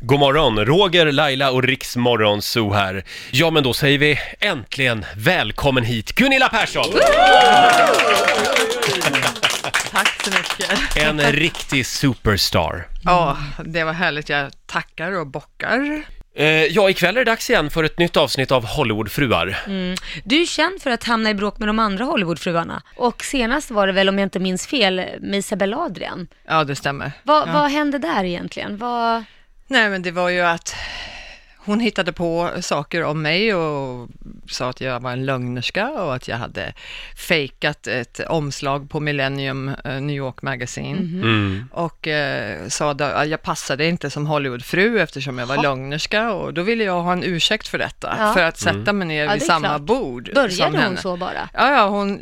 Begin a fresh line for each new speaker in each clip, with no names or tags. God morgon, Roger, Laila och Riksmorgon Zoo här. Ja, men då säger vi äntligen välkommen hit Gunilla Persson!
Tack så mycket.
En riktig superstar.
Ja, det var härligt. Jag tackar och bockar.
Eh, ja, ikväll är det dags igen för ett nytt avsnitt av Hollywoodfruar.
Du är ju känd för att hamna i bråk med de andra Hollywoodfruarna. Och senast var det väl, om jag inte minns fel, med Isabella Adrian.
Ja, det stämmer.
Vad, vad hände där egentligen? Vad...
Nej, men det var ju att hon hittade på saker om mig och sa att jag var en lögnerska och att jag hade fejkat ett omslag på Millennium eh, New York Magazine.
Mhm.
Och eh, sa då att jag passade inte som Hollywoodfru eftersom jag var lögnerska och då ville jag ha en ursäkt för detta,
Ja.
för att sätta mig ner
Ja,
vid
det är
samma
klart.
bord som
Började hon
henne.
så bara?
Ja, ja hon,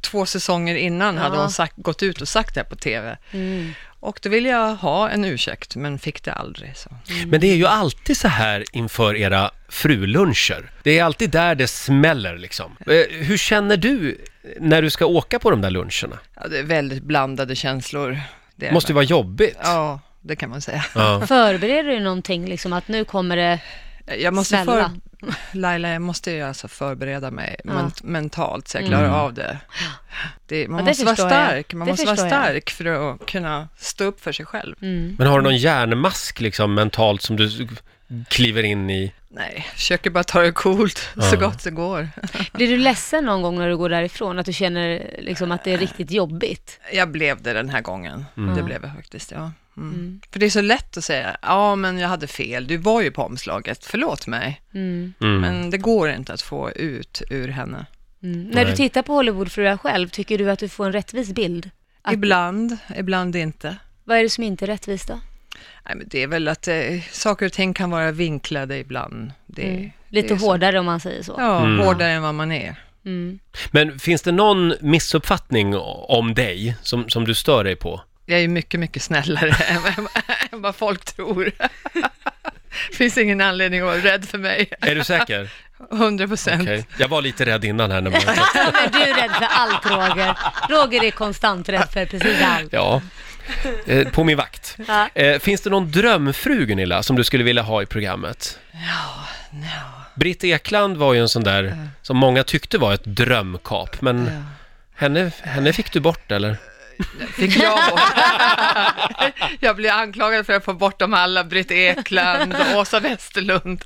två säsonger innan hade
Ja.
hon sagt, gått ut och sagt det på TV.
Mm.
Och då ville jag ha en ursäkt, men fick det aldrig. Så.
Men det är ju alltid så här inför era fruluncher. Det är alltid där det smäller liksom. Eh, hur känner du när du ska åka på de där luncherna?
Ja, det är väldigt blandade känslor. Det är
Det måste ju vara jobbigt.
Ja, det kan man säga.
Ja.
Förbereder du någonting, liksom att nu kommer det...
Jag måste för...
Svälla.
Laila, jag måste ju alltså förbereda mig
Ja.
men- mentalt så jag klarar av det. det man
Ja, det
måste vara
förstår jag.
stark, man
Det
måste vara
förstår jag.
stark för att kunna stå upp för sig själv.
mm.
Men har du någon järnmask liksom mentalt som du kliver in i?
Nej, försöker bara ta det coolt så gott det går.
Blir du ledsen någon gång när du går därifrån? Att du känner liksom, att det är riktigt jobbigt?
Jag blev det den här gången. Det blev jag faktiskt, ja. Mm. För det är så lätt att säga, ja men jag hade fel, du var ju på omslaget, förlåt mig. Men det går inte att få ut ur henne.
Mm. När du
Nej.
tittar på Hollywoodfruar själv, tycker du att du får en rättvis bild? Att-
Ibland, ibland inte.
Vad är det som inte är rättvist då?
Nej, men det är väl att eh, saker och ting kan vara vinklade ibland. Det, det
Mm. Lite
är så.
hårdare om man säger så. Mm.
Ja, hårdare än vad man är.
Men finns det någon missuppfattning om dig som, som du stör dig på?
Jag är ju mycket, mycket snällare än, vad- än vad folk tror. finns ingen anledning att vara rädd för mig.
Är du säker?
100 procent.
Okej. Jag var lite rädd innan här. När man...
Ja, men du är rädd för allt Roger. Roger är konstant rädd för precis allt.
Ja, Eh, på min vakt.
Ja.
Eh, Finns det någon drömfru, Gunilla, som du skulle vilja ha i programmet? Ja, Britt Ekland var ju en sån där som många tyckte var ett drömkap, men henne, henne fick du bort, eller?
Fick jag bort. jag blir anklagad för att få bort dem alla, Britt Ekland, Åsa Westerlund.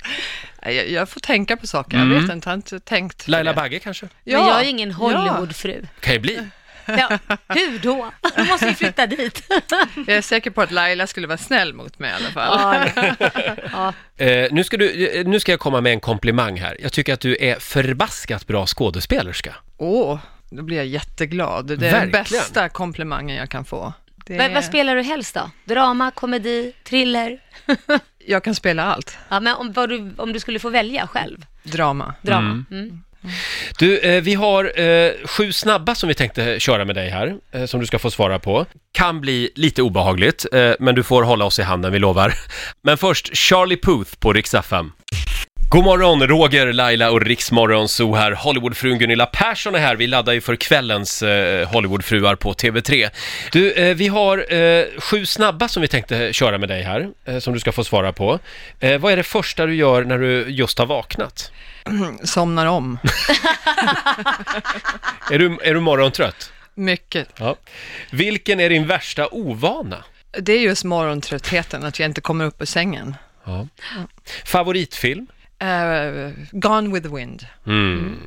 Nej, Jag, jag får tänka på saker, jag vet inte, jag har inte tänkt. på
Laila
det.
Bagge kanske?
Ja,
Men jag är ju ingen
ja.
Hollywoodfru.
Kan ju bli.
Ja. Hur då? Då måste vi flytta dit.
Jag är säker på att Laila skulle vara snäll mot mig i alla fall.
Ja, ja.
Eh, nu, ska du, eh, nu ska jag komma med en komplimang här. Jag tycker att du är förbaskat bra skådespelerska.
Åh, då blir jag jätteglad. Det är den
Verkligen.
bästa komplimangen jag kan få. Det
Men
är-
vad spelar du helst då? Drama, komedi, thriller?
jag kan spela allt.
Ja, men om, vad du, om du skulle få välja själv?
Drama.
Drama. Mm.
Du, eh, vi har eh, sju snabba som vi tänkte köra med dig här, eh, som du ska få svara på. Kan bli lite obehagligt, eh, men du får hålla oss i handen, vi lovar. Men först, Charlie Puth på Rix FM. God morgon, Roger, Laila och Riksmorgon Zoo här. Hollywoodfrun Gunilla Persson är här. Vi laddar ju för kvällens eh, Hollywoodfruar på TV3. Du, eh, vi har eh, sju snabba som vi tänkte köra med dig här, eh, som du ska få svara på. Eh, vad är det första du gör när du just har vaknat?
Somnar om.
Är du, är du morgontrött?
Mycket.
Ja. Vilken är din värsta ovana?
Det är just morgontröttheten, att jag inte kommer upp ur sängen.
Ja. Favoritfilm?
Eh, gone with the wind.
Mm.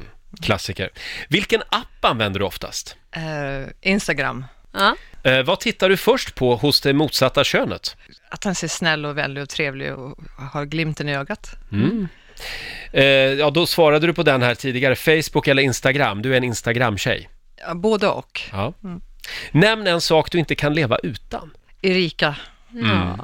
Klassiker. Vilken app använder du oftast?
Eh, Instagram.
Ja.
Eh, vad tittar du först på hos det motsatta könet?
Att han ser snäll och vänlig och trevlig och har glimten i ögat.
Mm.
Mm.
Eh, ja, då svarade du på den här tidigare. Facebook eller Instagram? Du är en Instagram-tjej.
Ja, både och.
Ja.
Mm.
Nämn en sak du inte kan leva utan.
Erika,
Ja.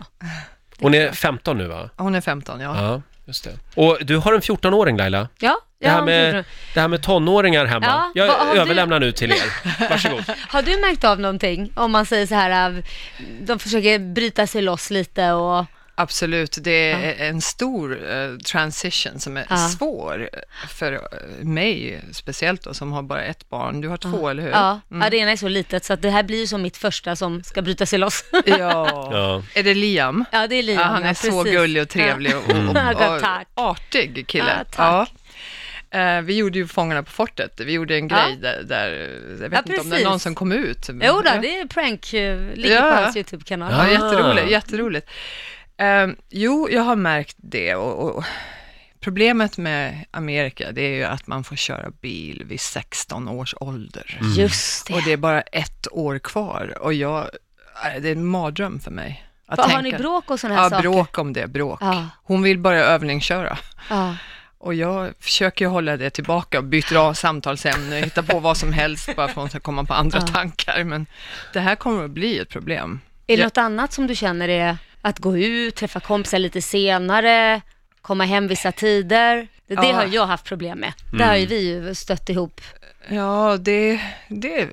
Hon är 15 nu, va?
hon är 15, ja.
Ja, just det. Och du har en 14-åring, Laila.
Ja,
Det
jag
här,
har, en
med,
fråga.
det här med tonåringar hemma.
Ja, vad har
Jag
du-
överlämnar nu till er. Varsågod.
har du märkt av någonting? Om man säger så här, äh, de försöker bryta sig loss lite och
Absolut, det är en stor eh, transition som är
Ja.
svår för eh, mig, speciellt då, som har bara ett barn. Du har två, eller hur? Mm.
Ja, ja, det ena är så litet så att det här blir ju som mitt första som ska bryta sig loss.
Ja.
Ja.
Är det Liam?
Ja, det är Liam.
Ja, han är
ja,
så
precis.
gullig och trevlig och, och, och,
Ja, tack.
artig kille.
Ja, tack.
Eh, vi gjorde ju Fångarna på fortet. Vi gjorde en
Ja.
grej där, där jag vet inte
Ja,
om det
precis.
är någon som kom ut. men-
Jo då, det är prank, eh, ligger
Ja.
på hans YouTube-kanal.
Ja.
Ja, jätteroligt. jätteroligt. Ehm, jo, jag har märkt det. Och, och, problemet med Amerika, det är ju att man får köra bil vid 16 års ålder.
Mm. Just det.
Och det är bara ett år kvar. Och jag, nej, det är en mardröm för mig. Att
Vad,
tänka.
har ni bråk och sådana här
Ja,
saker?
bråk om det, bråk.
Ja.
Hon vill börja övningsköra.
Ja.
Och jag försöker ju hålla det tillbaka och byter av samtalsämne och hittar på vad som helst bara för att hon ska komma på andra tankar. Men det här kommer att bli ett problem.
Är det
Ja.
något annat som du känner är att gå ut, träffa kompisar lite senare, komma hem vissa tider? Det, det
Ja. Mm.
har jag haft problem med. Där har ju vi ju stött ihop.
Ja, det, det är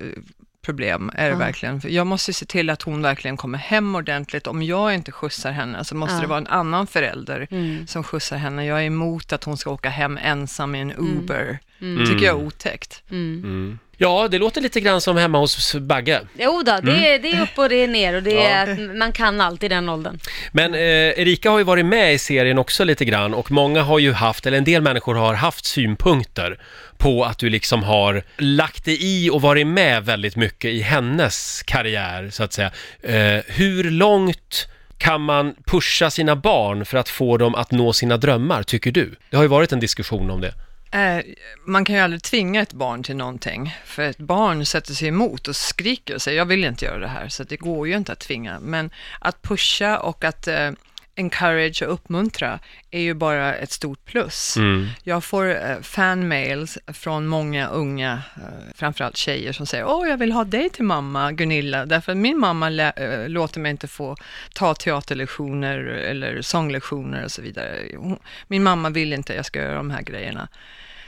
problem är det verkligen. För Jag måste ju se till att hon verkligen kommer hem ordentligt. Om jag inte skjutsar henne så måste det vara en annan förälder som skjutsar henne. Jag är emot att hon ska åka hem ensam i en Uber. tycker jag är otäckt.
Mm.
ja, det låter lite grann som hemma hos Bagge.
Jo då, det, är-
Mm.
det är upp och det är ner och det är att man kan allt i den åldern.
Men eh, Erika har ju varit med i serien också lite grann och många har ju haft, eller en del människor har haft synpunkter på att du liksom har lagt dig i och varit med väldigt mycket i hennes karriär så att säga. Eh, hur långt kan man pusha sina barn för att få dem att nå sina drömmar, tycker du? Det har ju varit en diskussion om det.
Eh, man kan ju aldrig tvinga ett barn till någonting, för ett barn sätter sig emot och skriker och säger jag vill inte göra det här, så att det går ju inte att tvinga. Men att pusha och att eh, encourage och uppmuntra är ju bara ett stort plus. Jag får eh, fanmails från många unga, eh, framförallt tjejer, som säger åh jag vill ha dig till mamma Gunilla, därför att min mamma lä- eh, låter mig inte få ta teaterlektioner eller sånglektioner och så vidare. Hon, min mamma vill inte att jag ska göra de här grejerna.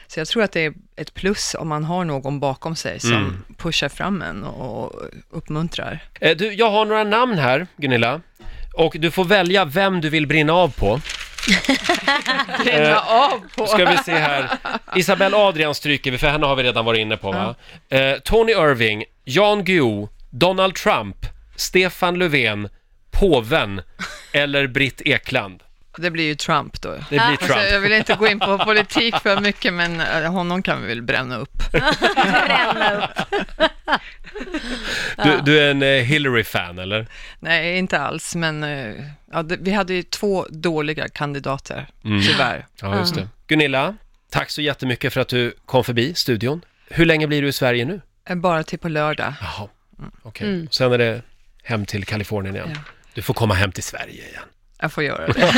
Så jag tror att det är ett plus om man har någon bakom sig som pushar fram en och uppmuntrar.
Eh, du, jag har några namn här, Gunilla. Och du får välja vem du vill brinna av på.
Bränna av på!
Ska vi se här. Isabel Adrian stryker vi, för henne har vi redan varit inne på va? Eh, Tony Irving, Jan Guillou, Donald Trump, Stefan Löfven, påven eller Britt Ekland.
Det blir ju Trump då.
Det blir
Alltså, jag
Trump.
vill inte gå in på politik för mycket, men eh, honom kan vi väl bränna upp.
Bränna upp.
Du, du är en eh, Hillary-fan eller?
Nej, inte alls, men eh, ja, det, vi hade ju två dåliga kandidater, tyvärr.
Ja, just det. Mm. Gunilla, tack så jättemycket för att du kom förbi studion. Hur länge blir du i Sverige nu?
Eh, Bara till på lördag.
Jaha, okej. Sen är det hem till Kalifornien igen. Du får komma hem till Sverige igen.
Jag får göra det.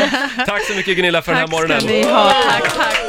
Tack så mycket Gunilla för den här
Tack
morgonen.
ska ni ha. Tack, tack.